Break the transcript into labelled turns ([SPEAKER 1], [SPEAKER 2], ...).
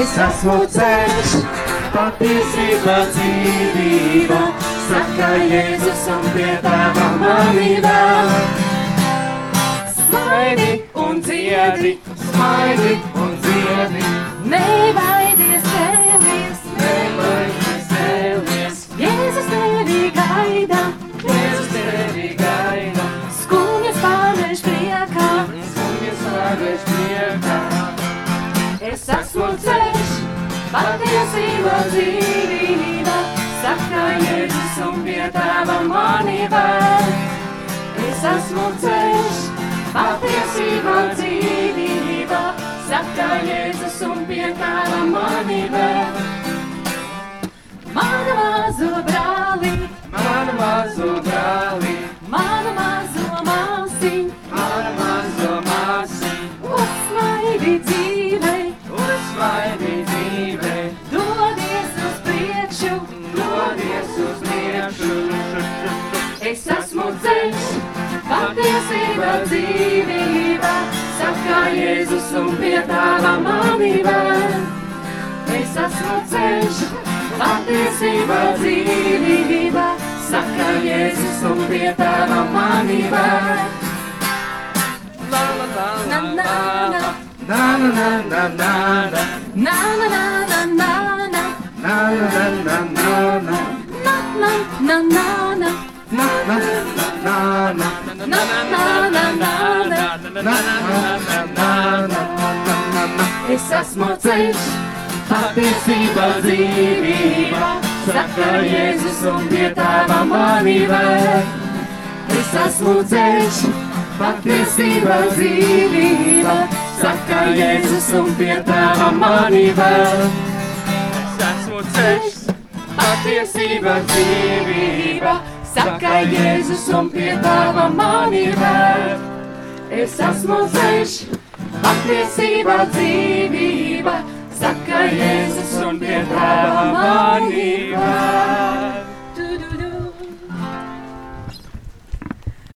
[SPEAKER 1] es esmu ceļš, patiesība dzīvība, saka Jēzus un pie tava manība. Smaidi un dziedi, smaidi un dziedi,
[SPEAKER 2] Nebaidies cēlies,
[SPEAKER 1] nebaidies cēlies,
[SPEAKER 2] Jēzus tevi gaida,
[SPEAKER 1] Jēzus tevi gaida,
[SPEAKER 2] skumjas pārnēš priekā.
[SPEAKER 1] skumjas vārdies priekā.
[SPEAKER 2] Es esmu ceļš, patiesība dzīvība, saka Jēzus un pie tava manība. Es esmu ceļš, patiesība dzīvība, saka Jēzus un pie tava manība. Mana mazo brāli,
[SPEAKER 1] Man mazo brāli,
[SPEAKER 2] mana mazo māsi,
[SPEAKER 1] man mazo māsi,
[SPEAKER 2] uzmaidi dzīvei,
[SPEAKER 1] uzmaidi dzīvei.
[SPEAKER 2] dodies uz priekšu,
[SPEAKER 1] Dodies uz priekšu,
[SPEAKER 2] Es esmu ceļš, patiesība, dzīvība, saka Jēzus un pie tava manība. Es esmu ceļš, patiesība, dzīvība, saka Jēzus un pie tava manība.
[SPEAKER 1] la la la
[SPEAKER 2] Na, na, na,
[SPEAKER 1] na na na na na
[SPEAKER 2] na, na, na, na, na,
[SPEAKER 1] na na na na na na na
[SPEAKER 2] na, na, na, na.
[SPEAKER 1] na na
[SPEAKER 2] Na, na, na, na, na. Es esmu ceļš,
[SPEAKER 1] Patiesība dzīvība, saka Jēzus un pie tava manība.
[SPEAKER 2] es esmu ceļš,
[SPEAKER 1] Patiesība dzīvība, saka Jēzus un pie tava manība. Es esmu ceļš, patiesība dzīvība,
[SPEAKER 2] saka Jēzus un pie tava manība. Es esmu ceļš, patiesība dzīvība, saka Jēzus un pie tava